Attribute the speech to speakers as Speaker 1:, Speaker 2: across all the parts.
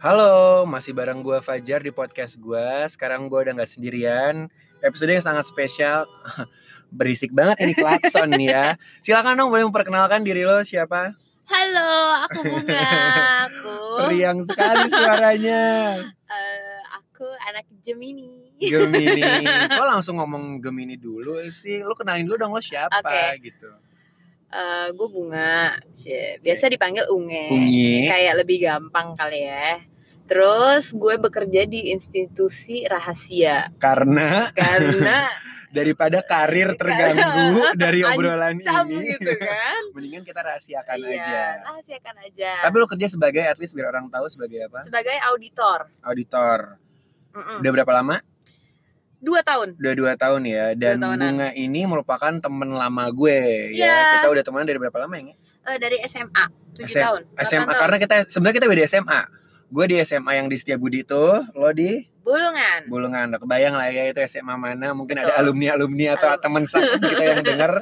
Speaker 1: Halo, masih bareng gue Fajar di podcast gue. Sekarang gue udah nggak sendirian. Episode yang sangat spesial. Berisik banget ini klakson nih ya. Silakan dong boleh memperkenalkan diri lo siapa?
Speaker 2: Halo, aku Bunga. Aku
Speaker 1: Riang sekali suaranya.
Speaker 2: eh, aku anak Gemini.
Speaker 1: Gemini. Kok langsung ngomong Gemini dulu sih? Lo kenalin dulu dong lo siapa
Speaker 2: Oke.
Speaker 1: gitu.
Speaker 2: Eh, gue Bunga. Cie, Biasa dipanggil Unge.
Speaker 1: Unyi.
Speaker 2: Kayak lebih gampang kali ya. Terus gue bekerja di institusi rahasia
Speaker 1: Karena
Speaker 2: karena
Speaker 1: daripada karir terganggu dari
Speaker 2: Ancam
Speaker 1: obrolan
Speaker 2: cam
Speaker 1: ini.
Speaker 2: gitu kan.
Speaker 1: Mendingan kita rahasiakan aja.
Speaker 2: Iya, rahasiakan aja.
Speaker 1: Tapi lo kerja sebagai, at least biar orang tahu sebagai apa?
Speaker 2: Sebagai auditor.
Speaker 1: Auditor.
Speaker 2: Mm-mm.
Speaker 1: Udah berapa lama?
Speaker 2: Dua tahun.
Speaker 1: Udah dua tahun ya. Dan
Speaker 2: Dua tahunan.
Speaker 1: Bunga ini merupakan temen lama gue ya.
Speaker 2: Iya.
Speaker 1: Kita udah temenan dari berapa lama ya? Nge?
Speaker 2: Eh, dari SMA. 7
Speaker 1: SM
Speaker 2: tahun.
Speaker 1: SMA
Speaker 2: 8 tahun.
Speaker 1: karena kita sebenarnya kita beda SMA. Gue di SMA yang di Setiabudi itu, lo di
Speaker 2: Hmm. Bulungan.
Speaker 1: Bulungan. Udah Kebayang lah ya itu SMA mana? Mungkin ada
Speaker 2: Betul.
Speaker 1: alumni-alumni atau
Speaker 2: Alum-
Speaker 1: teman sangkum kita yang denger.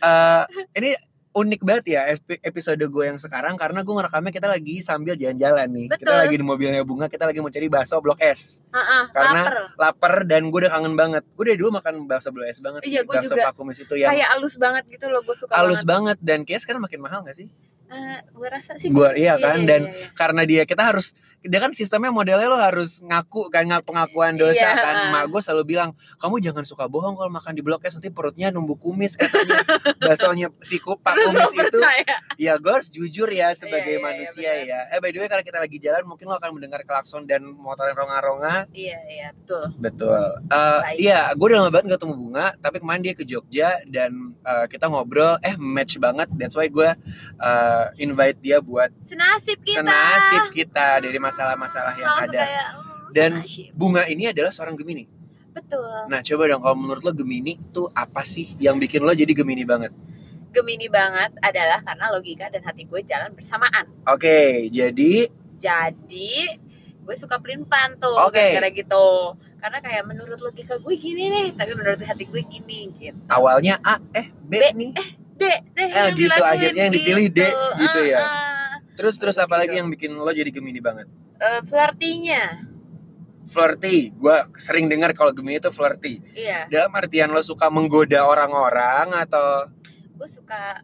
Speaker 1: Eh, ini unik banget ya esp- episode gue yang sekarang karena gue ngerekamnya kita lagi sambil jalan-jalan nih. Kita
Speaker 2: Betul.
Speaker 1: lagi di mobilnya Bunga, kita lagi mau cari bakso Blok S.
Speaker 2: Heeh,
Speaker 1: Karena-
Speaker 2: lapar.
Speaker 1: lapar dan gue udah kangen banget. Gue dari dulu makan bakso blue es banget sih.
Speaker 2: Iya, gue
Speaker 1: bakso
Speaker 2: juga.
Speaker 1: pakumis itu yang
Speaker 2: Kayak alus banget gitu loh gue suka
Speaker 1: halus banget
Speaker 2: banget.
Speaker 1: dan kayaknya sekarang makin mahal gak sih?
Speaker 2: Eh, gue rasa sih
Speaker 1: Gua- iya kan, dan
Speaker 2: iya, iya.
Speaker 1: Karena dia kita harus dia kan sistemnya modelnya lo harus ngaku kan ngaku pengakuan dosa
Speaker 2: Iya,
Speaker 1: kan.
Speaker 2: heeh.
Speaker 1: Mak gue selalu bilang, "Kamu jangan suka bohong kalau makan di Blok S nanti perutnya numbu kumis katanya." Baksonya si ku-
Speaker 2: Terus lo
Speaker 1: pakumis itu
Speaker 2: percaya.
Speaker 1: ya gue harus jujur ya sebagai
Speaker 2: Iya, iya, iya,
Speaker 1: manusia ya. Eh by the way karena kita lagi jalan mungkin lo akan mendengar klakson dan motor yang ronga-ronga.
Speaker 2: iya iya betul
Speaker 1: Betul. Eh,
Speaker 2: Baik.
Speaker 1: Iya, gue udah lama banget gak ketemu Bunga, tapi kemarin dia ke Jogja dan eh, kita ngobrol, eh match banget. That's why gue eh, invite dia buat
Speaker 2: senasib kita
Speaker 1: senasib kita dari masalah-masalah yang
Speaker 2: Langsung
Speaker 1: ada.
Speaker 2: kayak, hmm,
Speaker 1: Dan-
Speaker 2: senasib.
Speaker 1: Bunga ini adalah seorang Gemini.
Speaker 2: betul
Speaker 1: Nah, coba dong kalau menurut lo Gemini tuh apa sih yang bikin lo jadi Gemini banget?
Speaker 2: gemini banget adalah karena logika dan hati gue jalan bersamaan
Speaker 1: Oke, jadi
Speaker 2: jadi gue suka pelin pelan tuh
Speaker 1: Oke.
Speaker 2: gara-gara gitu karena kayak menurut logika gue gini nih tapi menurut hati gue gini gitu
Speaker 1: awalnya A eh B,
Speaker 2: B.
Speaker 1: nih.
Speaker 2: deh deh
Speaker 1: Eh, gitu, akhirnya yang dipilih D, gitu ya.
Speaker 2: Ah,
Speaker 1: Terus terus
Speaker 2: Terus
Speaker 1: apa lagi
Speaker 2: gitu.
Speaker 1: yang bikin lo jadi Gemini banget?
Speaker 2: Eh, flirtinya
Speaker 1: Flirty. Gue sering dengar kalau Gemini itu flirty.
Speaker 2: iya
Speaker 1: dalam artian lo suka menggoda orang-orang atau
Speaker 2: gue suka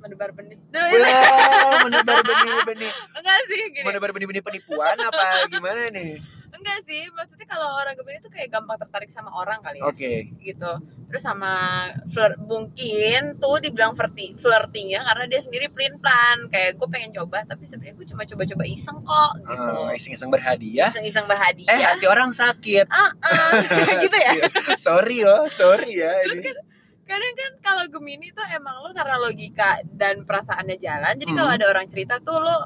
Speaker 2: menebar benih Nah, ya,
Speaker 1: Wah, menebar benih-benih
Speaker 2: enggak sih gini
Speaker 1: menebar benih-benih penipuan apa gimana nih
Speaker 2: enggak sih maksudnya kalau orang gemini tuh kayak gampang tertarik sama orang kali ya
Speaker 1: oke
Speaker 2: gitu terus sama flir- mungkin tuh dibilang flirty flirtingnya karena dia sendiri pelin pelan kayak gue pengen coba tapi sebenarnya gue cuma coba coba iseng kok gitu
Speaker 1: Eh, iseng-iseng berhadiah
Speaker 2: iseng iseng
Speaker 1: eh Iya
Speaker 2: berhadiah
Speaker 1: hati orang sakit
Speaker 2: Ah, ah. Kayak Iya. gitu ya
Speaker 1: sorry loh sorry ya
Speaker 2: Terus
Speaker 1: ini.
Speaker 2: kadang kan kalau gemini tuh emang lo karena logika dan perasaannya jalan jadi kalau
Speaker 1: Mhm.
Speaker 2: ada orang cerita tuh lo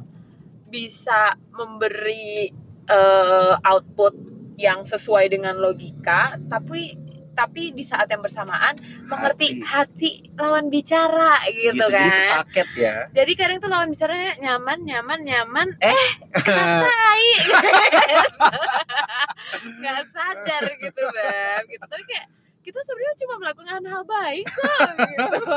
Speaker 2: bisa memberi eh, output yang sesuai dengan logika tapi tapi di saat yang bersamaan mengerti hati, lawan bicara gitu,
Speaker 1: gitu
Speaker 2: kan
Speaker 1: jadi
Speaker 2: jadi,
Speaker 1: sepaket ya
Speaker 2: kadang tuh lawan bicaranya nyaman nyaman nyaman
Speaker 1: Eh.
Speaker 2: Eh, tai nggak sadar gitu bang gitu tapi kayak kita sebenarnya cuma melakukan hal baik kok gitu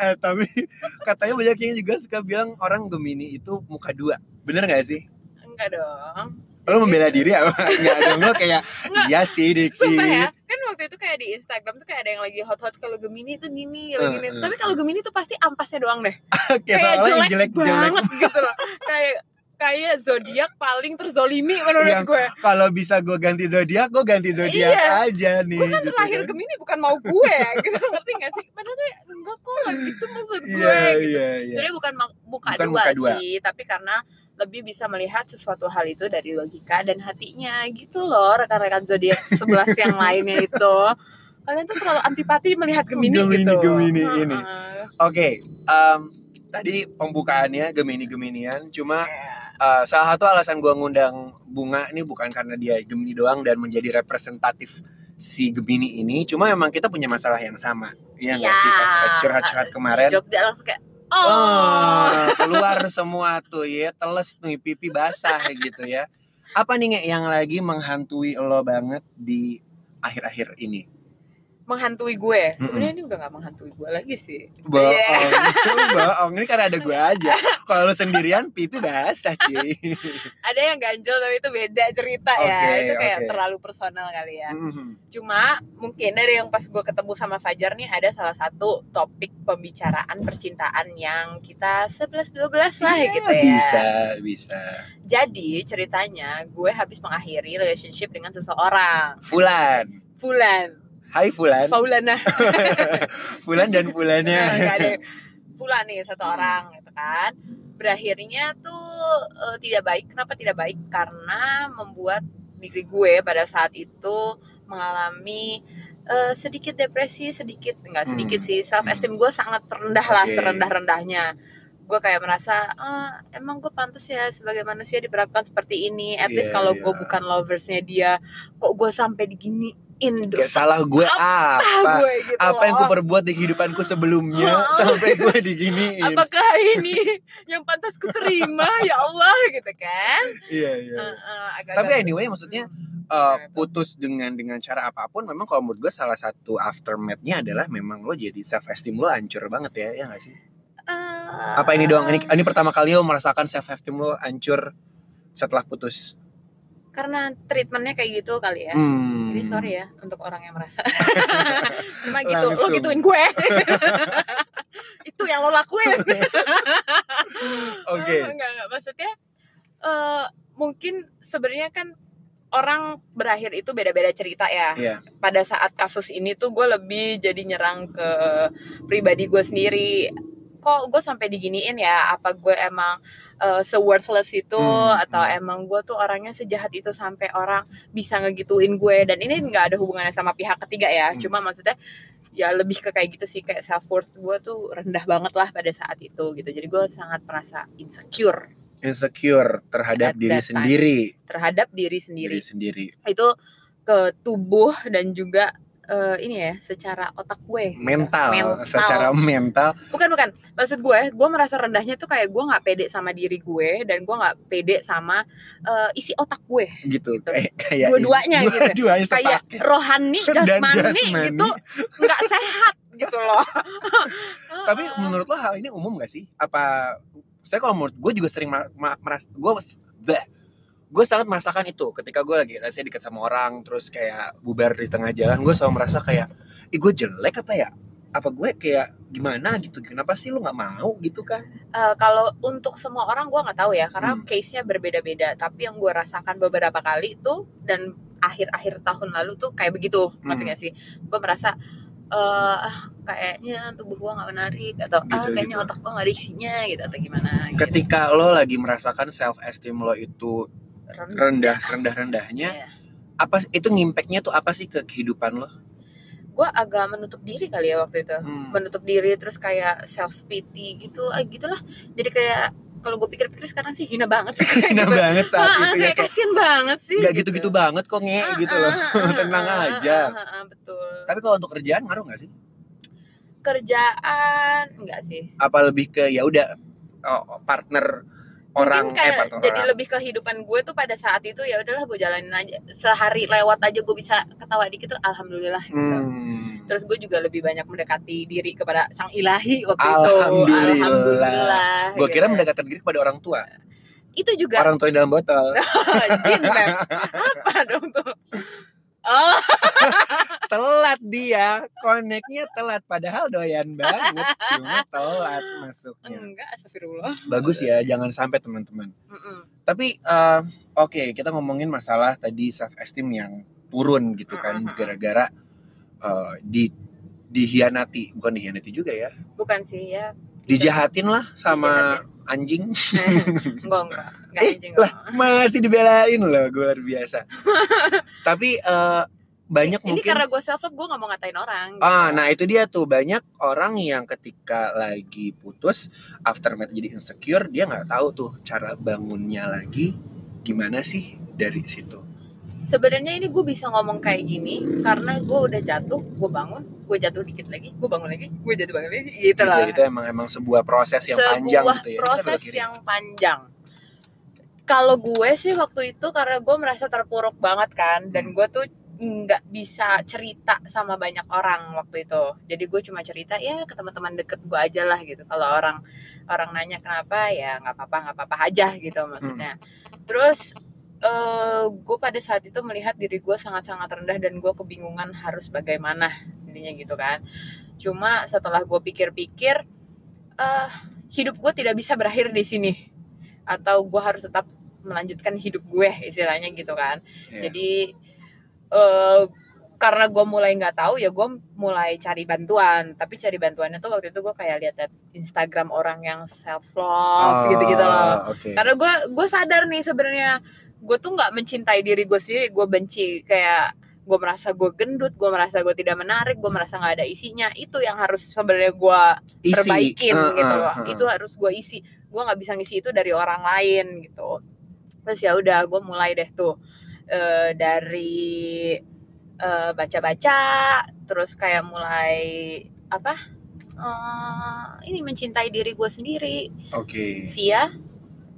Speaker 1: eh tapi katanya banyak yang juga suka bilang orang gemini itu muka dua bener gak sih
Speaker 2: enggak dong
Speaker 1: lo membela diri apa nggak dong lo kayak
Speaker 2: Iya. Nggak.
Speaker 1: iya sih dikit
Speaker 2: Sumpah ya, kan waktu itu kayak di Instagram tuh kayak ada yang lagi hot-hot kalau Gemini tuh gini, kalau
Speaker 1: Eh,
Speaker 2: gini.
Speaker 1: eh.
Speaker 2: Tapi kalau Gemini tuh pasti ampasnya doang deh.
Speaker 1: kayak soalnya yang jelek jelek
Speaker 2: banget gitu loh. Kayak kayak zodiak paling terzolimi menurut
Speaker 1: Yang-
Speaker 2: gue.
Speaker 1: kalau bisa gue ganti zodiak gue ganti zodiak
Speaker 2: Iya.
Speaker 1: aja nih
Speaker 2: Gue kan
Speaker 1: gitu
Speaker 2: terlahir
Speaker 1: kan.
Speaker 2: Gemini bukan mau gue gitu ngerti gak sih? Padahal kayak enggak kok nggak gitu maksud gue.
Speaker 1: iya iya
Speaker 2: gitu.
Speaker 1: iya
Speaker 2: Sebenarnya bukan mau- buka,
Speaker 1: Bukan
Speaker 2: dua
Speaker 1: buka dua.
Speaker 2: sih, tapi karena lebih bisa melihat sesuatu hal itu dari logika dan hatinya gitu loh rekan-rekan zodiak sebelas yang lainnya itu. Kalian tuh terlalu antipati melihat Gemini,
Speaker 1: Oh, Gemini,
Speaker 2: gitu.
Speaker 1: Gemini ini.
Speaker 2: Heeh.
Speaker 1: oke em, tadi pembukaannya gemini geminian cuma eh, salah satu alasan gue ngundang bunga ini bukan karena dia gemini doang dan menjadi representatif si gemini ini cuma emang kita punya masalah yang sama iya nggak sih pas kita curhat curhat kemarin
Speaker 2: Di Jogja langsung kayak oh,
Speaker 1: Oh, keluar semua tuh ya, teles nih pipi basah gitu ya. Apa nih Nge, yang lagi menghantui lo banget di akhir-akhir ini?
Speaker 2: menghantui gue.
Speaker 1: Mm-mm.
Speaker 2: Sebenarnya ini udah nggak menghantui gue lagi sih.
Speaker 1: Bohong,
Speaker 2: Iya.
Speaker 1: bohong. Ini karena ada gue aja. Kalau lu sendirian, pipi basah cuy.
Speaker 2: Ada yang ganjel tapi itu beda cerita ya.
Speaker 1: Oke,
Speaker 2: Itu kayak
Speaker 1: oke.
Speaker 2: terlalu personal kali ya.
Speaker 1: Mhm.
Speaker 2: Cuma mungkin dari yang pas gue ketemu sama Fajar nih ada salah satu topik pembicaraan percintaan yang kita 11-12 lah
Speaker 1: Iya,
Speaker 2: gitu ya.
Speaker 1: Bisa, bisa.
Speaker 2: Jadi ceritanya gue habis mengakhiri relationship dengan seseorang.
Speaker 1: Fulan.
Speaker 2: Fulan.
Speaker 1: Hai Fulan.
Speaker 2: Faulana.
Speaker 1: Fulan dan Fulannya.
Speaker 2: Nah, nggak ada. Fulan nih satu orang gitu kan. Berakhirnya tuh eh, tidak baik. Kenapa tidak baik? Karena membuat diri gue pada saat itu mengalami eh, sedikit depresi, sedikit enggak sedikit
Speaker 1: Hmm.
Speaker 2: sih. Self esteem gue sangat rendah lah,
Speaker 1: Oke.
Speaker 2: serendah-rendahnya. Gue kayak merasa "Ah, emang gue pantas ya sebagai manusia diperlakukan seperti ini. At least
Speaker 1: Iya,
Speaker 2: kalau gue
Speaker 1: iya.
Speaker 2: bukan loversnya dia, kok gue sampai diginiin
Speaker 1: Gak
Speaker 2: dosa
Speaker 1: salah gue apa? Iya, Apa,
Speaker 2: gue gitu.
Speaker 1: yang ku
Speaker 2: loh.
Speaker 1: perbuat di kehidupanku sebelumnya
Speaker 2: Oh.
Speaker 1: sampai gue diginiin?
Speaker 2: Apakah ini yang pantas ku terima ya Allah gitu kan?
Speaker 1: Iya, iya.
Speaker 2: Heeh, agak-agak- gitu.
Speaker 1: Tapi anyway, maksudnya eh, putus dengan dengan cara apapun memang kalau menurut gue salah satu aftermath-nya adalah memang lo jadi self esteem lo hancur banget ya, ya gak sih?
Speaker 2: Eh,
Speaker 1: Apa ini doang? Ini ini pertama kali lo merasakan self esteem lo hancur setelah putus.
Speaker 2: Karena treatmentnya kayak gitu kali ya.
Speaker 1: Hmm.
Speaker 2: Jadi sorry ya untuk orang yang merasa. Cuma gitu, lo
Speaker 1: Langsung.
Speaker 2: gituin gue. Itu yang lo lakuin.
Speaker 1: Oke.
Speaker 2: enggak, enggak. Maksudnya eh, mungkin sebenarnya kan orang berakhir itu beda-beda cerita ya.
Speaker 1: Iya.
Speaker 2: Pada saat kasus ini tuh gue lebih jadi nyerang ke pribadi gue sendiri. Kok gue sampai diginiin ya? Apa gue emang eh, se-worthless itu?
Speaker 1: Hmm,
Speaker 2: Atau
Speaker 1: hmm.
Speaker 2: emang gue tuh orangnya sejahat itu sampai orang bisa ngegituin gue? Dan ini nggak ada hubungannya sama pihak ketiga ya.
Speaker 1: Hmm.
Speaker 2: Cuma maksudnya ya lebih ke kayak gitu sih kayak self worth gue tuh rendah banget lah pada saat itu gitu jadi gue sangat merasa insecure
Speaker 1: Insecure terhadap
Speaker 2: At
Speaker 1: diri
Speaker 2: that time.
Speaker 1: sendiri.
Speaker 2: terhadap diri sendiri
Speaker 1: Diri sendiri.
Speaker 2: itu ke tubuh dan juga eh, ini ya secara otak gue gitu.
Speaker 1: Mental, secara mental.
Speaker 2: bukan bukan maksud gue gue merasa rendahnya tuh kayak gue nggak pede sama diri gue dan gue nggak pede sama eh, isi otak gue
Speaker 1: gitu,
Speaker 2: Gitu.
Speaker 1: kayak kayak
Speaker 2: Dua-duanya gitu.
Speaker 1: dua-duanya
Speaker 2: kayak
Speaker 1: sepaket.
Speaker 2: rohani
Speaker 1: Dan
Speaker 2: jasmani,
Speaker 1: jasmani.
Speaker 2: gitu nggak sehat gitu loh
Speaker 1: tapi menurut lo hal ini umum gak sih apa saya kalau menurut gue juga sering merasa gue bleh. gue sangat merasakan itu ketika gue lagi rasanya dekat sama orang terus kayak bubar di tengah jalan gue selalu merasa kayak ih gue jelek apa ya apa gue kayak gimana gitu kenapa sih lu nggak mau gitu kan
Speaker 2: Eh, kalau untuk semua orang gue nggak tahu ya karena
Speaker 1: Hmm.
Speaker 2: case-nya berbeda-beda tapi yang gue rasakan beberapa kali itu dan akhir-akhir tahun lalu tuh kayak begitu ngerti
Speaker 1: Hmm.
Speaker 2: gak sih gue merasa eh ah, kayaknya tubuh gue nggak menarik atau ah
Speaker 1: Gitu,
Speaker 2: kayaknya
Speaker 1: gitu.
Speaker 2: otak gue nggak ada isinya gitu atau gimana gitu.
Speaker 1: ketika lo lagi merasakan self esteem lo itu
Speaker 2: Rendah.
Speaker 1: rendah rendah rendahnya
Speaker 2: Iya.
Speaker 1: apa itu ngimpactnya tuh apa sih ke kehidupan lo
Speaker 2: gue agak menutup diri kali ya waktu itu
Speaker 1: Hmm.
Speaker 2: menutup diri terus kayak self pity gitu ah, gitulah jadi kayak kalau gue pikir-pikir sekarang sih hina banget sih kayak
Speaker 1: Nah
Speaker 2: gitu.
Speaker 1: banget saat
Speaker 2: Ah, ah,
Speaker 1: itu ya
Speaker 2: kayak kasihan banget sih gitu.
Speaker 1: nggak gitu-gitu banget kok nge gitu loh tenang aja
Speaker 2: betul.
Speaker 1: Tapi kalau untuk kerjaan ngaruh nggak sih?
Speaker 2: Kerjaan enggak sih?
Speaker 1: Apa lebih ke ya udah oh, partner orang eh,
Speaker 2: Mungkin kayak
Speaker 1: partner
Speaker 2: jadi
Speaker 1: orang.
Speaker 2: lebih kehidupan gue tuh pada saat itu ya udahlah gue jalanin aja. Sehari lewat aja gue bisa ketawa dikit tuh alhamdulillah gitu.
Speaker 1: Hmm.
Speaker 2: Terus gue juga lebih banyak mendekati diri kepada sang ilahi waktu itu.
Speaker 1: Alhamdulillah.
Speaker 2: Alhamdulillah.
Speaker 1: Gue kira
Speaker 2: gitu.
Speaker 1: mendekatkan diri kepada orang tua,
Speaker 2: itu juga
Speaker 1: orang tua yang dalam botol.
Speaker 2: jin Beb. apa dong tuh? Oh,
Speaker 1: telat dia, koneknya telat. Padahal doyan banget, cuma telat masuknya.
Speaker 2: enggak, astagfirullah.
Speaker 1: Bagus ya, jangan sampai teman-teman.
Speaker 2: Mm-mm.
Speaker 1: Tapi eh, oke, kita ngomongin masalah tadi self esteem yang turun gitu kan
Speaker 2: Mm-mm.
Speaker 1: gara-gara eh, di dihianati, bukan dihianati juga ya.
Speaker 2: Bukan sih ya.
Speaker 1: Dijahatin lah sama anjing.
Speaker 2: Eh, enggak, enggak. Enggak
Speaker 1: Eh,
Speaker 2: anjing,
Speaker 1: lah
Speaker 2: enggak.
Speaker 1: masih dibelain loh, gue luar biasa. Tapi eh, banyak
Speaker 2: ini
Speaker 1: mungkin
Speaker 2: karena gue self love gue gak mau ngatain orang gitu.
Speaker 1: Ah, nah itu dia tuh banyak orang yang ketika lagi putus aftermath jadi insecure dia nggak tahu tuh cara bangunnya lagi gimana sih dari situ.
Speaker 2: sebenarnya ini gue bisa ngomong kayak gini karena gue udah jatuh gue bangun gue jatuh dikit lagi gue bangun lagi gue jatuh bangun lagi gitu
Speaker 1: Gitu,
Speaker 2: lah
Speaker 1: itu emang emang sebuah proses yang
Speaker 2: sebuah
Speaker 1: panjang gitu ya.
Speaker 2: proses
Speaker 1: Kiri.
Speaker 2: yang panjang
Speaker 1: Hmm.
Speaker 2: kalau gue sih waktu itu karena gue merasa terpuruk banget kan dan gue tuh nggak bisa cerita sama banyak orang waktu itu jadi gue cuma cerita ya ke teman-teman deket gue aja lah gitu kalau orang orang nanya kenapa ya nggak apa-apa nggak apa-apa aja gitu maksudnya terus eh, gue pada saat itu melihat diri gue sangat-sangat rendah dan gue kebingungan harus bagaimana intinya gitu kan cuma setelah gue pikir-pikir eh hidup gue tidak bisa berakhir di sini atau gue harus tetap melanjutkan hidup gue istilahnya gitu kan
Speaker 1: Iya.
Speaker 2: jadi eh karena gue mulai nggak tahu ya gue mulai cari bantuan tapi cari bantuannya tuh waktu itu gue kayak lihat Instagram orang yang self
Speaker 1: Ah,
Speaker 2: love gitu gitu loh
Speaker 1: Oke.
Speaker 2: karena gue gue sadar nih sebenarnya gue tuh nggak mencintai diri gue sendiri gue benci kayak gue merasa gue gendut gue merasa gue tidak menarik gue merasa nggak ada isinya itu yang harus sebenarnya gue
Speaker 1: Isi. Ah,
Speaker 2: perbaikin
Speaker 1: Heeh,
Speaker 2: gitu loh
Speaker 1: heeh.
Speaker 2: itu harus gue isi gue nggak bisa ngisi itu dari orang lain gitu terus ya udah gue mulai deh tuh eh, dari eh, baca-baca terus kayak mulai apa eh, ini mencintai diri gue sendiri
Speaker 1: Oke.
Speaker 2: via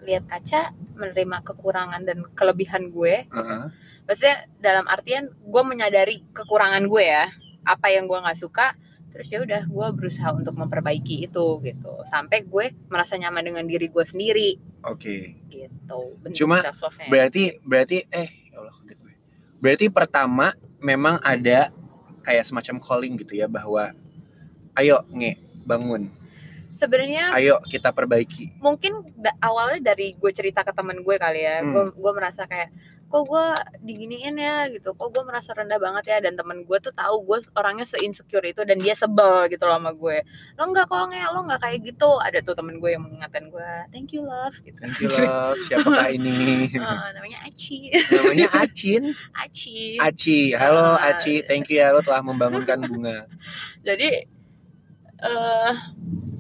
Speaker 2: lihat kaca menerima kekurangan dan kelebihan gue
Speaker 1: Heeh.
Speaker 2: maksudnya dalam artian gue menyadari kekurangan gue ya apa yang gue nggak suka terus ya udah gue berusaha untuk memperbaiki itu gitu sampai gue merasa nyaman dengan diri gue sendiri
Speaker 1: Oke.
Speaker 2: gitu
Speaker 1: Cuma,
Speaker 2: self love-nya.
Speaker 1: Berarti berarti eh ya Allah kaget gue. Berarti pertama memang ada kayak semacam calling gitu ya bahwa ayo nge bangun,
Speaker 2: sebenarnya
Speaker 1: ayo kita perbaiki.
Speaker 2: mungkin da- awalnya dari gue cerita ke teman gue kali ya
Speaker 1: Hmm.
Speaker 2: gue gue merasa kayak kok gue diginiin ya gitu kok gue merasa rendah banget ya dan teman gue tuh tahu gue orangnya seinsecure itu dan dia sebel gitu loh sama gue lo nggak kok nge lo nggak kayak gitu ada tuh temen gue yang mengingatkan gue thank you love gitu
Speaker 1: Thank you love. Siapakah ini?
Speaker 2: Ah, namanya Aci
Speaker 1: Namanya Acin.
Speaker 2: Aci
Speaker 1: Aci. Halo
Speaker 2: Iya.
Speaker 1: Aci, thank you ya lo telah membangunkan bunga.
Speaker 2: jadi eh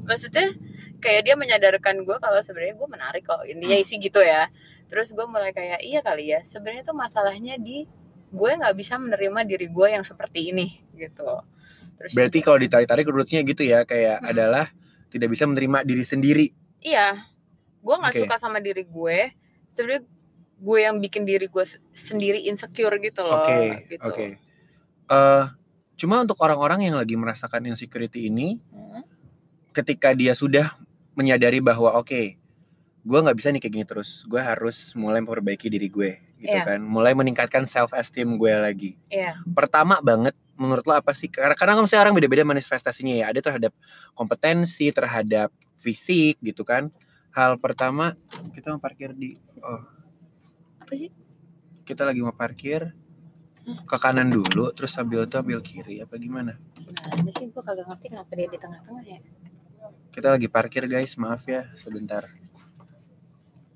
Speaker 2: maksudnya kayak dia menyadarkan gue kalau sebenarnya gue menarik kok
Speaker 1: Hmm.
Speaker 2: intinya isi gitu ya terus gue mulai kayak iya kali ya sebenarnya tuh masalahnya di gue nggak bisa menerima diri gue yang seperti ini gitu terus
Speaker 1: Berarti kalau ditarik-tarik rutnya gitu ya kayak
Speaker 2: Hmm. juga-
Speaker 1: adalah tidak bisa menerima diri sendiri.
Speaker 2: iya gue nggak
Speaker 1: Oke.
Speaker 2: suka sama diri gue sebenarnya gue yang bikin diri gue se- sendiri insecure gitu loh
Speaker 1: Oke,
Speaker 2: gitu.
Speaker 1: oke. Eh, cuma untuk orang-orang yang lagi merasakan insecurity ini,
Speaker 2: Hmm.
Speaker 1: ketika dia sudah menyadari bahwa oke, gue nggak bisa nih kayak gini terus, gue harus mulai memperbaiki diri gue, gitu
Speaker 2: Iya.
Speaker 1: kan, mulai meningkatkan self esteem gue lagi.
Speaker 2: Iya.
Speaker 1: Pertama banget, menurut lo apa sih? Karena karena kan misalnya orang beda-beda manifestasinya ya, ada terhadap kompetensi, terhadap fisik, gitu kan. Hal pertama kita mau parkir di, oh,
Speaker 2: apa sih
Speaker 1: kita lagi mau parkir ke kanan dulu, terus ambil itu ambil kiri, apa gimana?
Speaker 2: gimana sih gue kagak ngerti kenapa dia di tengah-tengah ya
Speaker 1: Kita lagi parkir guys, maaf ya sebentar.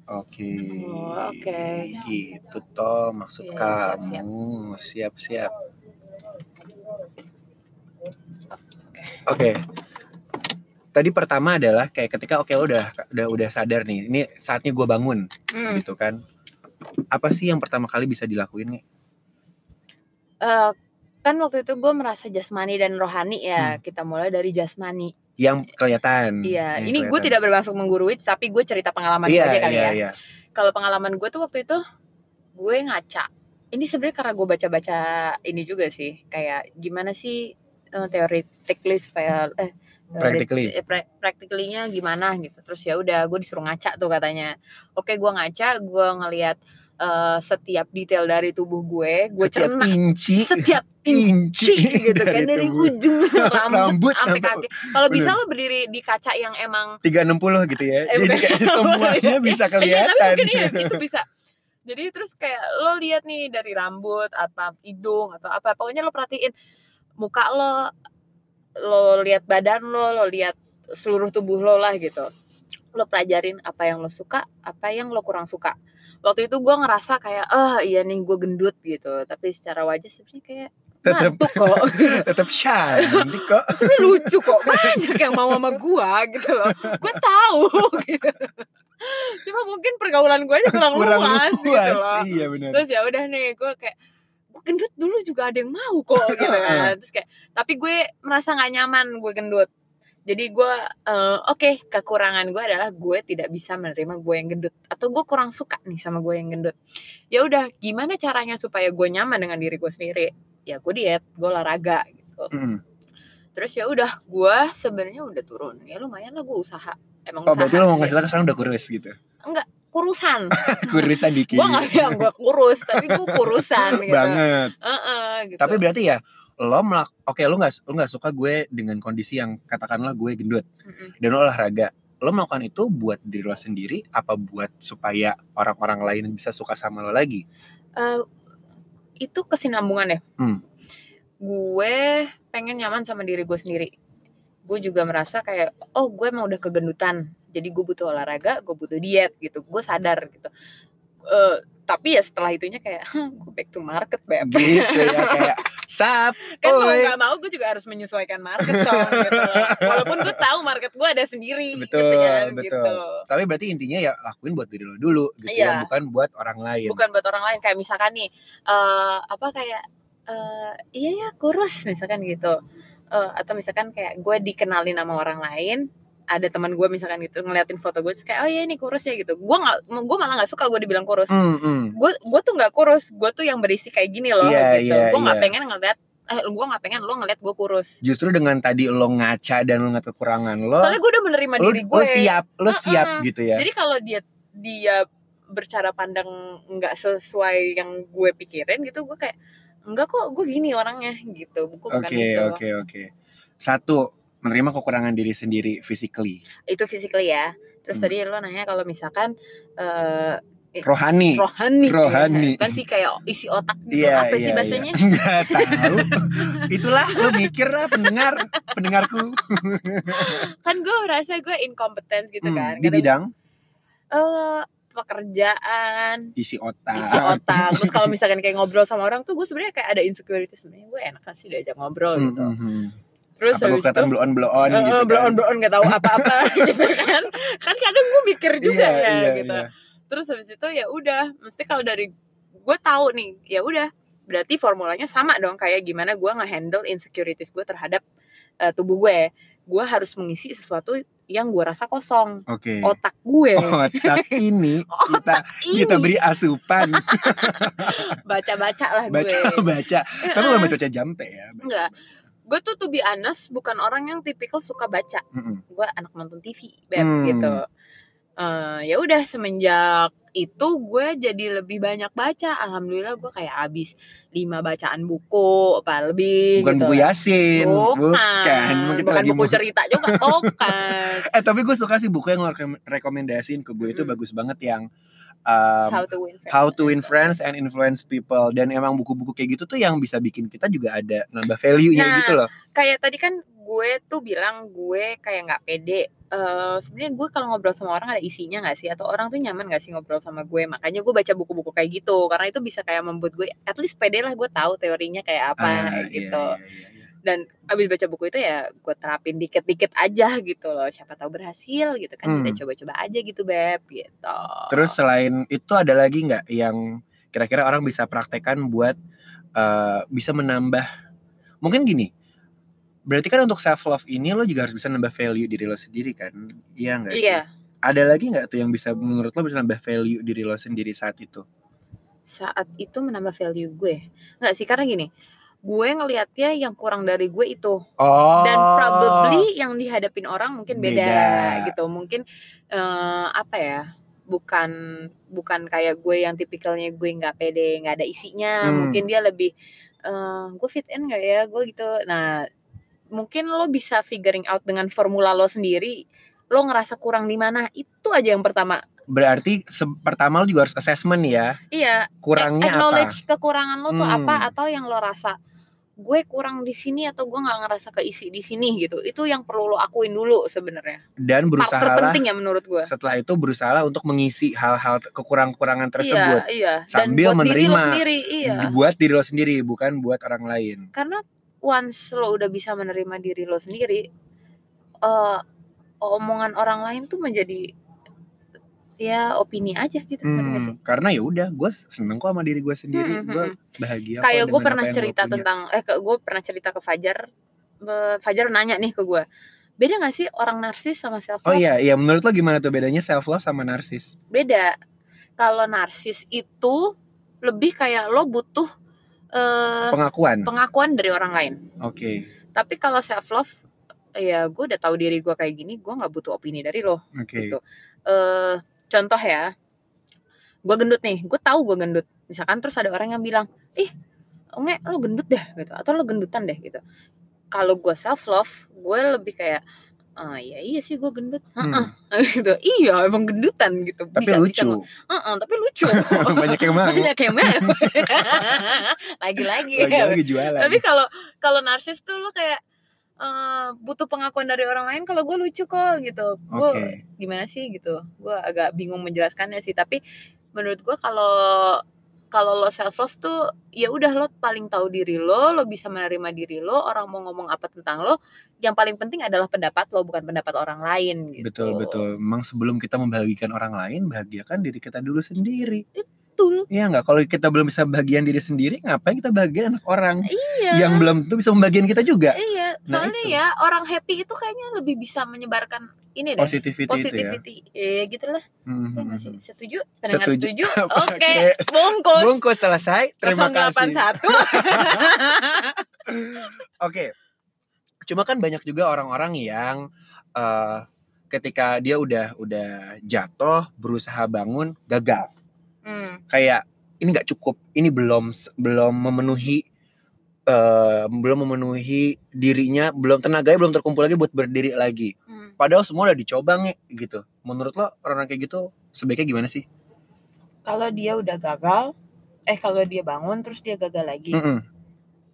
Speaker 1: Oke.
Speaker 2: Oh, oke.
Speaker 1: Gitu toh maksud
Speaker 2: Iya, siap-siap.
Speaker 1: kamu. Siap-siap. Oke. Tadi pertama adalah kayak ketika oke lo udah udah udah sadar nih, ini saatnya gua bangun
Speaker 2: Hmm.
Speaker 1: gitu kan. Apa sih yang pertama kali bisa dilakuin nih?
Speaker 2: Eh, kan waktu itu gue merasa jasmani dan rohani ya
Speaker 1: Hmm.
Speaker 2: kita mulai dari jasmani
Speaker 1: Yang kelihatan.
Speaker 2: iya
Speaker 1: yang
Speaker 2: ini gue
Speaker 1: Hmm, kelihatan.
Speaker 2: tidak bermaksud menggurui tapi gue cerita pengalaman gue
Speaker 1: Iya,
Speaker 2: aja kali
Speaker 1: iya,
Speaker 2: ya
Speaker 1: iya.
Speaker 2: kalau pengalaman gue tuh waktu itu gue ngaca ini sebenarnya karena gue baca-baca ini juga sih kayak gimana sih eh, theoretically supaya eh teori-
Speaker 1: Practically.
Speaker 2: eh, pra- practically-nya gimana gitu terus ya udah gue disuruh ngaca tuh katanya oke gue ngaca gue ngelihat eh, setiap detail dari tubuh gue gue
Speaker 1: Setiap
Speaker 2: cerna
Speaker 1: inci,
Speaker 2: setiap
Speaker 1: inci
Speaker 2: kunci gitu kan dari
Speaker 1: tubuh.
Speaker 2: ujung rambut
Speaker 1: Rambut
Speaker 2: sampai
Speaker 1: sampai-
Speaker 2: kaki. Kalau bisa
Speaker 1: bener.
Speaker 2: lo berdiri di kaca yang emang
Speaker 1: 360 gitu ya.
Speaker 2: Eh,
Speaker 1: Jadi
Speaker 2: bukan.
Speaker 1: kayak semuanya bisa
Speaker 2: Eh, iya,
Speaker 1: kelihatan.
Speaker 2: tapi mungkin iya, itu bisa. Jadi terus kayak lo lihat nih dari rambut apa hidung atau apa pokoknya lo perhatiin muka lo lo lihat badan lo lo lihat seluruh tubuh lo lah gitu lo pelajarin apa yang lo suka apa yang lo kurang suka waktu itu gue ngerasa kayak ah iya nih gue gendut gitu tapi secara wajah sebenarnya kayak
Speaker 1: Tetep.
Speaker 2: ngantuk kok
Speaker 1: tetap cantik kok.
Speaker 2: sebenarnya lucu kok banyak yang mau sama gua gitu loh gue tahu gitu. cuma mungkin pergaulan gue aja kurang,
Speaker 1: Kurang
Speaker 2: luas, gitu loh
Speaker 1: luas. Iya benar.
Speaker 2: terus ya udah nih gue kayak gue gendut dulu juga ada yang mau kok gitu kan terus kayak tapi gue merasa nggak nyaman gue gendut jadi gue eh, oke kekurangan gue adalah gue tidak bisa menerima gue yang gendut atau gue kurang suka nih sama gue yang gendut ya udah gimana caranya supaya gue nyaman dengan diri gue sendiri ya gue diet gue olahraga gitu
Speaker 1: Mm.
Speaker 2: terus ya udah gue sebenarnya udah turun ya lumayan lah gue usaha emang
Speaker 1: Oh,
Speaker 2: usaha
Speaker 1: berarti lo mau
Speaker 2: ya?
Speaker 1: ngasih tau sekarang udah kurus gitu.
Speaker 2: kurusan
Speaker 1: Kurisan dikit.
Speaker 2: gue nggak bilang gue kurus tapi gue kurusan gitu
Speaker 1: Banget.
Speaker 2: Heeh, gitu.
Speaker 1: Tapi berarti ya lo melak oke lo nggak lo nggak suka gue dengan kondisi yang katakanlah gue gendut
Speaker 2: Mm-mm.
Speaker 1: dan lo olahraga lo melakukan itu buat diri lo sendiri apa buat supaya orang-orang lain bisa suka sama lo lagi
Speaker 2: Eh, itu kesinambungan ya.
Speaker 1: Hmm.
Speaker 2: Gue pengen nyaman sama diri gue sendiri. Gue juga merasa kayak, oh gue emang udah kegendutan. Jadi gue butuh olahraga, gue butuh diet gitu. Gue sadar gitu. Eh, tapi ya setelah itunya kayak, gue back to market beb.
Speaker 1: gitu ya kayak sap
Speaker 2: Kan mau
Speaker 1: oi.
Speaker 2: gak mau gue juga harus menyesuaikan market dong gitu. loh. Walaupun gue tahu market gue ada sendiri gitu
Speaker 1: Betul,
Speaker 2: kan,
Speaker 1: betul.
Speaker 2: gitu.
Speaker 1: tapi berarti intinya ya lakuin buat diri lo dulu gitu ya
Speaker 2: Iya.
Speaker 1: bukan buat orang lain
Speaker 2: bukan buat orang lain kayak misalkan nih eh apa kayak eh iya ya kurus misalkan gitu Eh, atau misalkan kayak gue dikenalin sama orang lain ada teman gue misalkan gitu ngeliatin foto gue terus kayak oh iya ini kurus ya gitu gue nggak gue malah nggak suka gue dibilang kurus
Speaker 1: Mm, mm.
Speaker 2: gue gue tuh nggak kurus gue tuh yang berisi kayak gini loh
Speaker 1: Iya,
Speaker 2: gitu
Speaker 1: iya,
Speaker 2: gue nggak
Speaker 1: iya.
Speaker 2: pengen ngeliat eh gue nggak pengen lo ngeliat gue kurus
Speaker 1: justru dengan tadi lo ngaca dan lo ngeliat kekurangan lo
Speaker 2: soalnya gue udah menerima
Speaker 1: lo,
Speaker 2: diri
Speaker 1: lo
Speaker 2: gue
Speaker 1: siap lo
Speaker 2: Heeh.
Speaker 1: siap gitu ya
Speaker 2: Jadi kalau dia dia bercara pandang nggak sesuai yang gue pikirin gitu, gue kayak enggak kok gue gini orangnya gitu, gue bukan
Speaker 1: oke
Speaker 2: gitu.
Speaker 1: oke oke satu menerima kekurangan diri sendiri physically
Speaker 2: Itu physically ya. Terus
Speaker 1: Hmm.
Speaker 2: tadi lo nanya kalau misalkan eh
Speaker 1: rohani
Speaker 2: rohani,
Speaker 1: Rohani.
Speaker 2: kan sih kayak isi otak gitu
Speaker 1: Iya,
Speaker 2: apa sih
Speaker 1: iya,
Speaker 2: bahasanya?
Speaker 1: iya. Nggak tahu. Itulah lo mikir lah pendengar, pendengarku.
Speaker 2: Kan gue merasa gue incompetence gitu
Speaker 1: Hmm,
Speaker 2: kan.
Speaker 1: di
Speaker 2: Kadang,
Speaker 1: bidang
Speaker 2: eh, pekerjaan,
Speaker 1: isi otak.
Speaker 2: isi otak. Terus kalau misalkan kayak ngobrol sama orang tuh gue sebenarnya kayak ada insecurity sebenarnya gue enak sih diajak ngobrol
Speaker 1: Hmm,
Speaker 2: gitu.
Speaker 1: hmm, hmm.
Speaker 2: Terus
Speaker 1: Apa gue
Speaker 2: habis itu
Speaker 1: kelihatan blow on blow on
Speaker 2: Eh,
Speaker 1: gitu
Speaker 2: eh,
Speaker 1: kan?
Speaker 2: blow on blow on nggak tahu apa-apa gitu kan kan kadang gue mikir juga
Speaker 1: Iya,
Speaker 2: ya
Speaker 1: iya,
Speaker 2: gitu
Speaker 1: iya.
Speaker 2: terus habis itu ya udah mesti kalau dari gue tahu nih ya udah berarti formulanya sama dong kayak gimana gue ngehandle insecurities gue terhadap eh, tubuh gue gue harus mengisi sesuatu yang gue rasa kosong
Speaker 1: Oke.
Speaker 2: otak gue
Speaker 1: Otak ini kita
Speaker 2: ini
Speaker 1: kita Iya, beri asupan
Speaker 2: baca-baca lah
Speaker 1: baca
Speaker 2: gue
Speaker 1: baca. Tapi bukan baca jampe ya. baca-
Speaker 2: Enggak. gue tuh to be honest bukan orang yang tipikal suka baca
Speaker 1: Mm-mm.
Speaker 2: gue anak nonton TV beb
Speaker 1: Hmm.
Speaker 2: gitu Eh, ya udah semenjak itu gue jadi lebih banyak baca alhamdulillah gue kayak abis lima bacaan buku apa lebih
Speaker 1: Bukan
Speaker 2: gitu
Speaker 1: buku Yasin,
Speaker 2: bukan
Speaker 1: bukan.
Speaker 2: bukan,
Speaker 1: Kita lagi
Speaker 2: buku
Speaker 1: mau-
Speaker 2: cerita juga bukan
Speaker 1: Eh tapi gue suka sih buku yang ngerekom- rekomendasiin ke gue itu
Speaker 2: Mm-mm.
Speaker 1: bagus banget yang um,
Speaker 2: how to win friends
Speaker 1: How to Win Friends and Influence People dan emang buku-buku kayak gitu tuh yang bisa bikin kita juga ada nambah value-nya
Speaker 2: Nah.
Speaker 1: gitu loh.
Speaker 2: kayak tadi kan gue tuh bilang gue kayak nggak pede Eh sebenarnya gue kalau ngobrol sama orang ada isinya nggak sih atau orang tuh nyaman nggak sih ngobrol sama gue makanya gue baca buku-buku kayak gitu karena itu bisa kayak membuat gue at least pede lah gue tahu teorinya kayak apa
Speaker 1: Ah,
Speaker 2: kayak
Speaker 1: iya,
Speaker 2: gitu
Speaker 1: iya, iya, iya.
Speaker 2: dan abis baca buku itu ya gue terapin dikit-dikit aja gitu loh siapa tahu berhasil gitu kan
Speaker 1: Hmm.
Speaker 2: kita coba-coba aja gitu beb gitu
Speaker 1: Terus selain itu ada lagi nggak yang kira-kira orang bisa praktekkan buat eh, bisa menambah mungkin gini. Berarti kan untuk self love ini lo juga harus bisa nambah value diri lo sendiri kan? Iya enggak sih?
Speaker 2: iya
Speaker 1: Ada lagi nggak tuh yang bisa menurut lo bisa nambah value diri lo sendiri saat itu?
Speaker 2: saat itu menambah value gue nggak sih karena gini gue ngelihatnya yang kurang dari gue itu
Speaker 1: Oh.
Speaker 2: dan probably yang dihadapin orang mungkin beda,
Speaker 1: Beda.
Speaker 2: gitu mungkin eh, apa ya bukan bukan kayak gue yang tipikalnya gue nggak pede nggak ada isinya
Speaker 1: Hmm.
Speaker 2: mungkin dia lebih eh, gue fit in nggak ya gue gitu nah mungkin lo bisa figuring out dengan formula lo sendiri lo ngerasa kurang di mana itu aja yang pertama
Speaker 1: Berarti se- pertama lo juga harus assessment ya.
Speaker 2: iya
Speaker 1: Kurangnya apa?
Speaker 2: acknowledge kekurangan lo tuh
Speaker 1: Hmm.
Speaker 2: apa atau yang lo rasa gue kurang di sini atau gue nggak ngerasa keisi di sini gitu itu yang perlu lo akuin dulu sebenarnya
Speaker 1: dan
Speaker 2: part
Speaker 1: berusahalah
Speaker 2: terpenting ya menurut gue
Speaker 1: setelah itu berusaha untuk mengisi hal-hal kekurang-kurangan tersebut
Speaker 2: iya iya
Speaker 1: Sambil
Speaker 2: buat diri lo
Speaker 1: menerima.
Speaker 2: sendiri iya
Speaker 1: buat diri lo sendiri bukan buat orang lain
Speaker 2: karena once lo udah bisa menerima diri lo sendiri eh omongan orang lain tuh menjadi ya opini aja gitu ngerti nggak sih?
Speaker 1: Hmm, karena ya udah gue seneng kok sama diri gue sendiri
Speaker 2: Mm, mm,
Speaker 1: gue
Speaker 2: mm.
Speaker 1: bahagia kok
Speaker 2: kayak gue
Speaker 1: dengan
Speaker 2: pernah
Speaker 1: apa yang gua
Speaker 2: cerita
Speaker 1: punya.
Speaker 2: tentang eh gue pernah cerita ke Fajar Be- Fajar nanya nih ke gue Beda gak sih orang narsis sama self
Speaker 1: Oh
Speaker 2: love?
Speaker 1: iya, iya menurut lo gimana tuh bedanya self love sama narsis?
Speaker 2: Beda. Kalau narsis itu lebih kayak lo butuh eh,
Speaker 1: Pengakuan.
Speaker 2: pengakuan dari orang lain.
Speaker 1: Oke.
Speaker 2: Tapi kalau self love ya gue udah tahu diri gue kayak gini, gue nggak butuh opini dari lo
Speaker 1: Oke.
Speaker 2: gitu. eh contoh ya, gue gendut nih, gue tahu gue gendut. Misalkan terus ada orang yang bilang, ih, nge, lo gendut deh gitu, atau lo gendutan deh gitu. Kalau gue self love, gue lebih kayak, ah ya iya sih gue gendut, Heeh.
Speaker 1: Hmm,
Speaker 2: gitu. Iya emang gendutan gitu.
Speaker 1: tapi
Speaker 2: Bisa- bisa
Speaker 1: lucu.
Speaker 2: gua- Heeh, tapi lucu.
Speaker 1: Banyak yang mau.
Speaker 2: Banyak yang mau. Lagi-lagi.
Speaker 1: Lagi-lagi jualan.
Speaker 2: Tapi kalau kalau narsis tuh lo kayak eh, butuh pengakuan dari orang lain. Kalau gue lucu kok gitu.
Speaker 1: Oke.
Speaker 2: Gue gimana sih gitu gue agak bingung menjelaskannya sih tapi menurut gue kalau kalau lo self love tuh ya udah lo paling tahu diri lo lo bisa menerima diri lo orang mau ngomong apa tentang lo yang paling penting adalah pendapat lo bukan pendapat orang lain gitu
Speaker 1: Betul betul. Memang sebelum kita membahagikan orang lain, bahagiakan diri kita dulu sendiri.
Speaker 2: betul
Speaker 1: Iya nggak? Kalau kita belum bisa bahagian diri sendiri, ngapain kita bahagian anak orang
Speaker 2: iya
Speaker 1: yang belum tuh bisa membagian kita juga?
Speaker 2: iya
Speaker 1: Nah,
Speaker 2: soalnya
Speaker 1: itu.
Speaker 2: ya orang happy itu kayaknya lebih bisa menyebarkan ini deh
Speaker 1: Positivity, itu ya.
Speaker 2: Iya. positivity eh gitu lah
Speaker 1: Hmm,
Speaker 2: ya
Speaker 1: hmm,
Speaker 2: nggak
Speaker 1: hmm.
Speaker 2: sih setuju pendengar
Speaker 1: Setuju.
Speaker 2: setuju, oke
Speaker 1: Oke.
Speaker 2: bungkus
Speaker 1: Bungkus selesai. Terima kasih.
Speaker 2: 081
Speaker 1: Oke. Cuma kan banyak juga orang-orang yang eh, ketika dia udah udah jatuh, berusaha bangun, gagal.
Speaker 2: Hmm.
Speaker 1: Kayak ini nggak cukup, ini belum belum memenuhi eh, belum memenuhi dirinya, belum tenaganya belum terkumpul lagi buat berdiri lagi.
Speaker 2: hmm.
Speaker 1: Padahal semua udah dicoba nih gitu. Menurut lo orang-orang kayak gitu sebaiknya gimana sih?
Speaker 2: kalau dia udah gagal eh kalau dia bangun terus dia gagal lagi
Speaker 1: Mm-mm.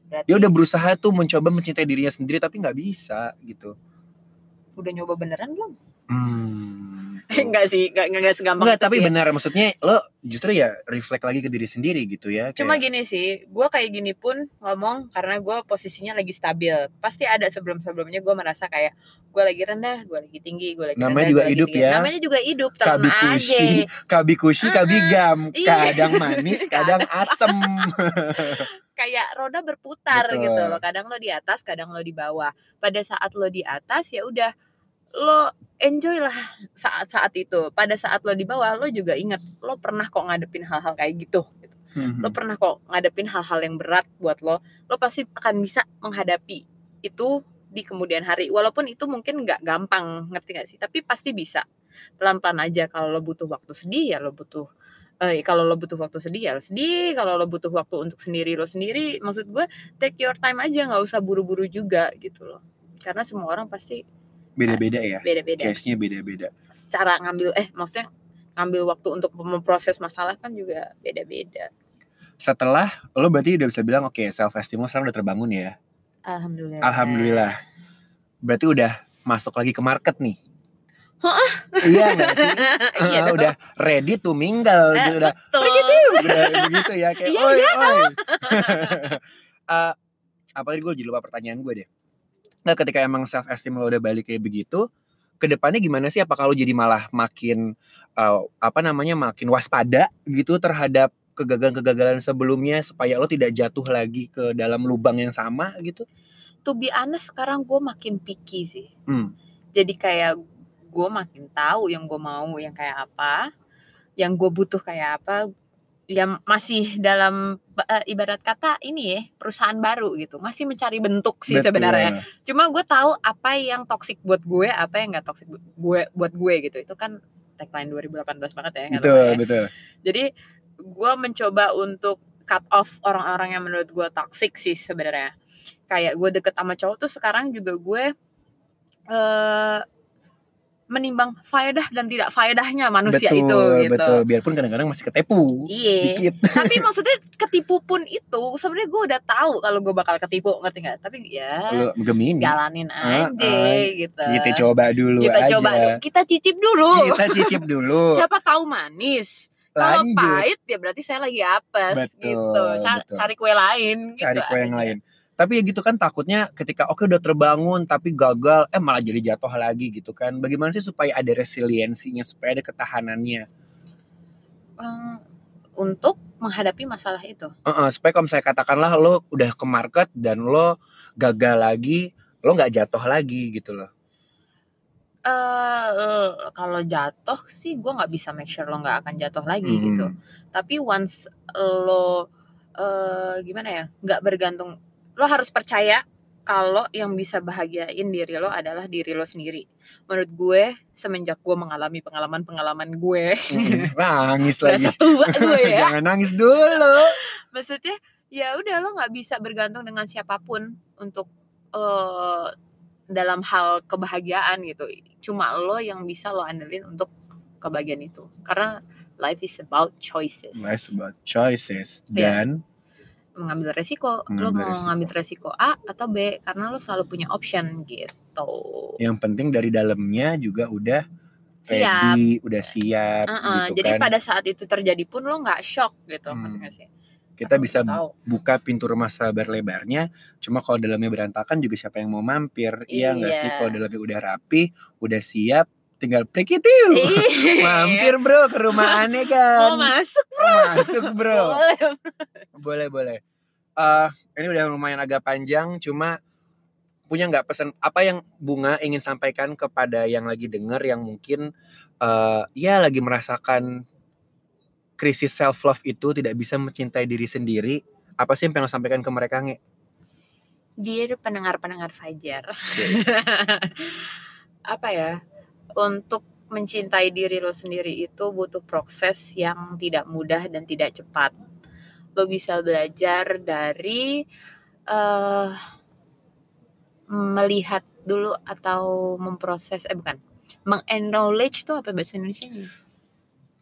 Speaker 2: berarti
Speaker 1: Dia udah berusaha tuh mencoba mencintai dirinya sendiri tapi nggak bisa gitu.
Speaker 2: udah nyoba beneran belum
Speaker 1: Hmm.
Speaker 2: enggak sih enggak enggak, segampang
Speaker 1: Enggak,
Speaker 2: itu
Speaker 1: tapi
Speaker 2: sih ya.
Speaker 1: benar maksudnya lo justru ya reflect lagi ke diri sendiri gitu ya.
Speaker 2: cuma
Speaker 1: kayak,
Speaker 2: gini sih gue kayak gini pun ngomong karena gue posisinya lagi stabil pasti ada sebelum sebelumnya gue merasa kayak gue lagi rendah gue lagi tinggi gue lagi
Speaker 1: Namanya
Speaker 2: rendah,
Speaker 1: juga
Speaker 2: gua lagi
Speaker 1: hidup
Speaker 2: tinggi.
Speaker 1: ya.
Speaker 2: namanya juga hidup telan
Speaker 1: kabi
Speaker 2: aja
Speaker 1: kushi, kabi kushi, kabi
Speaker 2: Ah,
Speaker 1: gam,
Speaker 2: iya.
Speaker 1: kadang manis, kadang asem.
Speaker 2: kayak roda berputar
Speaker 1: Betul.
Speaker 2: gitu loh kadang lo di atas kadang lo di bawah pada saat lo di atas ya udah lo enjoy lah saat-saat itu pada saat lo di bawah lo juga inget lo pernah kok ngadepin hal-hal kayak gitu gitu.
Speaker 1: Hmm,
Speaker 2: lo pernah kok ngadepin hal-hal yang berat buat lo lo pasti akan bisa menghadapi itu di kemudian hari walaupun itu mungkin nggak gampang ngerti nggak sih tapi pasti bisa pelan-pelan aja kalau lo butuh waktu sedih ya lo butuh eh kalau lo butuh waktu sedih ya lo sedih kalau lo butuh waktu untuk sendiri lo sendiri maksud gue take your time aja nggak usah buru-buru juga gitu loh karena semua orang pasti
Speaker 1: Beda-beda ya.
Speaker 2: beda-beda
Speaker 1: Case-nya beda-beda.
Speaker 2: cara ngambil eh maksudnya ngambil waktu untuk memproses masalah kan juga beda-beda
Speaker 1: Setelah lo berarti udah bisa bilang oke self esteem lo sekarang udah terbangun ya.
Speaker 2: alhamdulillah
Speaker 1: Alhamdulillah. Berarti udah masuk lagi ke market nih. Iya nggak sih?
Speaker 2: iya
Speaker 1: Ah,
Speaker 2: dong.
Speaker 1: udah ready to mingle,
Speaker 2: Eh,
Speaker 1: udah
Speaker 2: betul
Speaker 1: udah begitu ya kayak
Speaker 2: Iya,
Speaker 1: oi oi Eh, apa tadi gue jadi lupa pertanyaan gue deh nggak ketika emang self esteem lo udah balik kayak begitu kedepannya gimana sih apakah lo jadi malah makin eh, apa namanya makin waspada gitu terhadap kegagalan-kegagalan sebelumnya supaya lo tidak jatuh lagi ke dalam lubang yang sama gitu
Speaker 2: to be honest sekarang gue makin picky sih
Speaker 1: Hmm.
Speaker 2: jadi kayak gue makin tahu yang gue mau yang kayak apa yang gue butuh kayak apa yang masih dalam eh, ibarat kata ini ya perusahaan baru gitu masih mencari bentuk sih
Speaker 1: Betul.
Speaker 2: sebenarnya cuma gue tahu apa yang toxic buat gue apa yang nggak toxic buat gue buat gue gitu itu kan tagline 2018 banget ya nggak
Speaker 1: betul
Speaker 2: lupa ya.
Speaker 1: betul
Speaker 2: jadi gue mencoba untuk cut off orang-orang yang menurut gue toxic sih sebenarnya kayak gue deket sama cowok tuh sekarang juga gue eh menimbang faedah dan tidak faedahnya manusia
Speaker 1: betul
Speaker 2: itu gitu
Speaker 1: betul biarpun kadang-kadang masih ketepu
Speaker 2: iya
Speaker 1: dikit
Speaker 2: tapi maksudnya ketipu pun itu sebenarnya gue udah tahu kalau gue bakal ketipu ngerti nggak tapi ya
Speaker 1: lo gemini
Speaker 2: jalanin
Speaker 1: Ah,
Speaker 2: aja
Speaker 1: ah.
Speaker 2: gitu
Speaker 1: kita coba dulu
Speaker 2: kita
Speaker 1: aja Gitu.
Speaker 2: coba dulu, kita cicip dulu
Speaker 1: kita cicip dulu
Speaker 2: siapa tahu manis kalau
Speaker 1: lanjut
Speaker 2: pahit ya berarti saya lagi apes
Speaker 1: Betul,
Speaker 2: gitu Ca-
Speaker 1: betul.
Speaker 2: cari kue lain gitu
Speaker 1: cari kue yang
Speaker 2: aja.
Speaker 1: lain tapi ya gitu kan takutnya ketika oke udah terbangun tapi gagal eh malah jadi jatuh lagi gitu kan bagaimana sih supaya ada resiliensinya supaya ada ketahanannya
Speaker 2: Hmm, untuk menghadapi masalah itu
Speaker 1: Heeh, supaya kalau saya katakanlah lo udah ke market dan lo gagal lagi lo nggak jatuh lagi gitu loh
Speaker 2: eh kalau jatuh sih gue nggak bisa make sure lo nggak akan jatuh lagi
Speaker 1: Mhm.
Speaker 2: gitu tapi once lo eh gimana ya nggak bergantung lo harus percaya kalau yang bisa bahagiain diri lo adalah diri lo sendiri menurut gue semenjak gue mengalami pengalaman pengalaman gue
Speaker 1: Mm-mm. Iya, nangis lagi
Speaker 2: berasa tua gue ya
Speaker 1: jangan nangis dulu
Speaker 2: maksudnya ya udah lo nggak bisa bergantung dengan siapapun untuk eh dalam hal kebahagiaan gitu cuma lo yang bisa lo andelin untuk kebahagiaan itu karena life is about choices
Speaker 1: nice about choices
Speaker 2: Iya.
Speaker 1: dan
Speaker 2: mengambil resiko
Speaker 1: Mengambil
Speaker 2: lo mau
Speaker 1: resiko.
Speaker 2: ngambil resiko A atau B karena lo selalu punya option gitu
Speaker 1: yang penting dari dalamnya juga udah
Speaker 2: siap
Speaker 1: ready, udah siap
Speaker 2: Heeh,
Speaker 1: gitu
Speaker 2: jadi
Speaker 1: Iya, kan.
Speaker 2: pada saat itu terjadi pun lo nggak shock gitu
Speaker 1: Hmm.
Speaker 2: maksudnya sih
Speaker 1: Kita
Speaker 2: Karena
Speaker 1: bisa
Speaker 2: lo tahu.
Speaker 1: buka pintu rumah sabar lebarnya. Cuma kalau dalamnya berantakan juga siapa yang mau mampir? Iya nggak sih?
Speaker 2: Iya.
Speaker 1: Kalau dalamnya udah rapi, udah siap, tinggal prikitiu.
Speaker 2: Iya.
Speaker 1: Mampir bro ke rumah aneh kan.
Speaker 2: mau masuk
Speaker 1: Masuk bro.
Speaker 2: boleh
Speaker 1: Boleh boleh. Eh, ini udah lumayan agak panjang. Cuma punya nggak pesan apa yang bunga ingin sampaikan kepada yang lagi denger yang mungkin eh ya lagi merasakan krisis self love itu tidak bisa mencintai diri sendiri. Apa sih yang pengen lo sampaikan ke mereka nge?
Speaker 2: Dear pendengar-pendengar Fajar. Apa ya? Untuk mencintai diri lo sendiri itu butuh proses yang tidak mudah dan tidak cepat. Lo bisa belajar dari eh melihat dulu atau memproses eh bukan meng-acknowledge tuh apa bahasa Indonesia nya?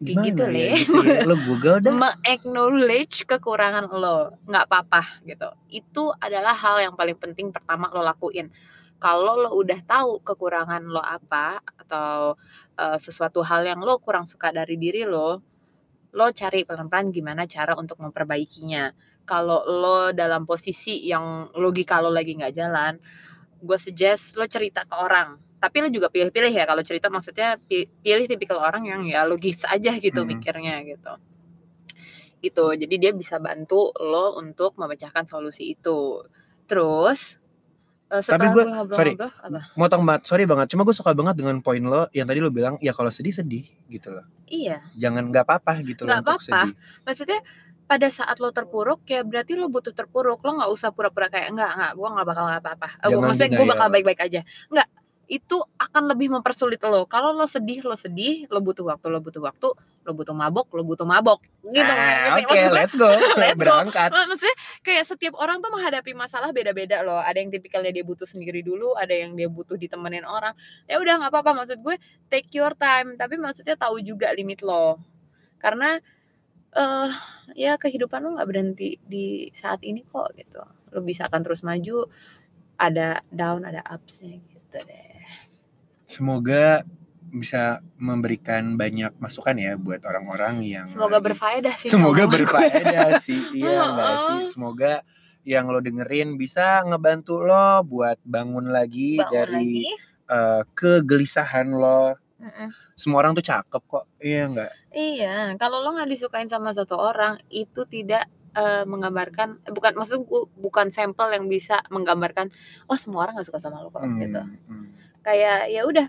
Speaker 2: Kayak gitu,
Speaker 1: Gimana
Speaker 2: Le.
Speaker 1: ya, gitu ya? Lo Google dah.
Speaker 2: Meng-acknowledge kekurangan lo, nggak apa-apa gitu. Itu adalah hal yang paling penting pertama lo lakuin. Kalau lo udah tahu kekurangan lo apa atau eh, sesuatu hal yang lo kurang suka dari diri lo, lo cari pelan-pelan gimana cara untuk memperbaikinya. Kalau lo dalam posisi yang logika lo lagi nggak jalan, gue suggest lo cerita ke orang. Tapi lo juga pilih-pilih ya kalau cerita maksudnya pi- pilih tipikal orang yang ya logis aja gitu
Speaker 1: Mm.
Speaker 2: mikirnya gitu. Gitu. Jadi dia bisa bantu lo untuk memecahkan solusi itu. Terus eh,
Speaker 1: gua-
Speaker 2: setelah gue
Speaker 1: sorry.
Speaker 2: ngobrol-ngobrol apa?
Speaker 1: Motong banget, sorry banget. Cuma gue suka banget dengan poin lo yang tadi lo bilang ya kalau sedih sedih gitu loh.
Speaker 2: Iya.
Speaker 1: Jangan nggak apa-apa gitu loh
Speaker 2: Nggak
Speaker 1: untuk
Speaker 2: apa-apa.
Speaker 1: sedih.
Speaker 2: maksudnya pada saat lo terpuruk ya berarti lo butuh terpuruk lo nggak usah pura-pura kayak enggak enggak gue nggak bakal apa-apa Eh, gua,
Speaker 1: Jangan ya.
Speaker 2: maksudnya gue
Speaker 1: denial.
Speaker 2: bakal baik-baik aja enggak itu akan lebih mempersulit lo kalau lo sedih lo sedih lo butuh waktu lo butuh waktu lo butuh mabok lo butuh mabok gitu
Speaker 1: Ah, Oke,
Speaker 2: Maksudnya-
Speaker 1: let's go.
Speaker 2: Let's go.
Speaker 1: Berangkat.
Speaker 2: Mak- maksudnya kayak setiap orang tuh menghadapi masalah beda-beda loh ada yang tipikalnya dia butuh sendiri dulu ada yang dia butuh ditemenin orang ya udah nggak apa-apa maksud gue take your time tapi maksudnya tahu juga limit lo karena eh ya kehidupan lo nggak berhenti di saat ini kok gitu lo bisa akan terus maju ada down ada upsnya gitu deh
Speaker 1: Semoga bisa memberikan banyak masukan ya buat orang-orang yang
Speaker 2: semoga
Speaker 1: lagi-
Speaker 2: berfaedah sih
Speaker 1: Nah, gitu.
Speaker 2: Uh-uh.
Speaker 1: Semoga
Speaker 2: omongan gue.
Speaker 1: berfaedah sih, iya enggak
Speaker 2: Heeh.
Speaker 1: sih. Semoga yang lo dengerin bisa ngebantu lo buat bangun lagi
Speaker 2: Bangun
Speaker 1: dari
Speaker 2: lagi.
Speaker 1: eh, kegelisahan lo.
Speaker 2: Mm-mm.
Speaker 1: Semua orang tuh cakep kok, iya enggak?
Speaker 2: Iya, kalau lo nggak disukain sama satu orang itu tidak eh, menggambarkan bukan maksud gue bukan sampel yang bisa menggambarkan oh semua orang nggak suka sama lo kok
Speaker 1: Hmm,
Speaker 2: gitu.
Speaker 1: hmm.
Speaker 2: Kayak ya udah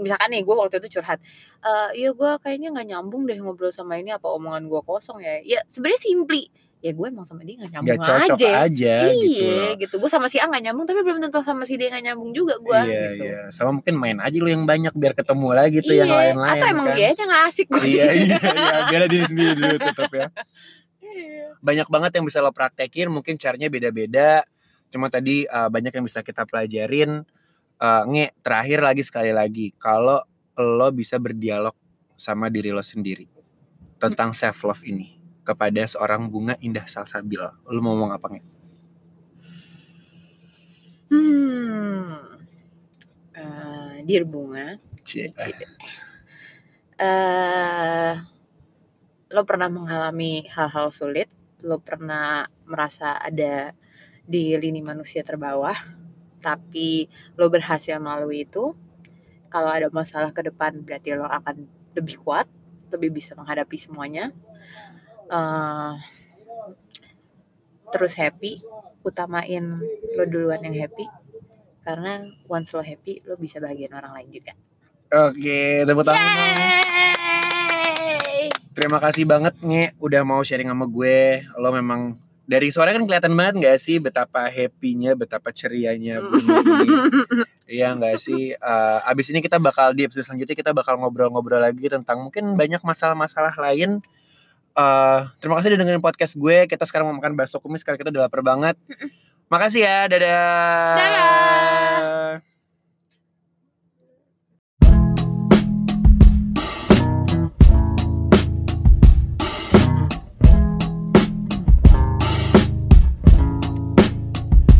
Speaker 2: misalkan nih gue waktu itu curhat Eh ya gue kayaknya nggak nyambung deh ngobrol sama ini apa omongan gue kosong ya ya sebenarnya simply ya gue emang sama dia nggak
Speaker 1: Nggak
Speaker 2: nyambung
Speaker 1: cocok
Speaker 2: aja,
Speaker 1: aja, gitu
Speaker 2: iya
Speaker 1: loh.
Speaker 2: gitu, gue sama si A nggak nyambung tapi belum tentu sama si D nggak nyambung juga gue
Speaker 1: iya,
Speaker 2: gitu
Speaker 1: iya. Sama mungkin main aja lo yang banyak biar ketemu lagi tuh yang
Speaker 2: Iya,
Speaker 1: lain-lain
Speaker 2: atau emang
Speaker 1: kan.
Speaker 2: dia aja nggak asik gue
Speaker 1: iya, iya, iya, bela diri sendiri dulu tetap ya.
Speaker 2: iya.
Speaker 1: Banyak banget yang bisa lo praktekin, mungkin caranya beda-beda. Cuma tadi eh, banyak yang bisa kita pelajarin. Eh, nge, terakhir lagi sekali lagi, kalau lo bisa berdialog sama diri lo sendiri tentang self love ini kepada seorang bunga indah salsabil, lo mau ngomong apa nge?
Speaker 2: Hmm. Eh, dear bunga, Cie. Eh, lo pernah mengalami hal-hal sulit, lo pernah merasa ada di lini manusia terbawah, tapi lo berhasil melalui itu. Kalau ada masalah ke depan, berarti lo akan lebih kuat, lebih bisa menghadapi semuanya. Eh, terus happy, utamain lo duluan yang happy, karena once lo happy, lo bisa bahagiain orang lain juga.
Speaker 1: Oke, tepuk tangan.
Speaker 2: Yeay.
Speaker 1: Terima kasih banget Nge udah mau sharing sama gue. Lo memang dari suara kan kelihatan banget gak sih betapa happy-nya, betapa cerianya bunga ini. Iya gak sih? Eh, abis ini kita bakal di episode selanjutnya kita bakal ngobrol-ngobrol lagi tentang mungkin banyak masalah-masalah lain. Eh, terima kasih udah dengerin podcast gue. Kita sekarang mau makan bakso kumis karena kita udah lapar banget. Makasih ya, dadah.
Speaker 2: Dadah.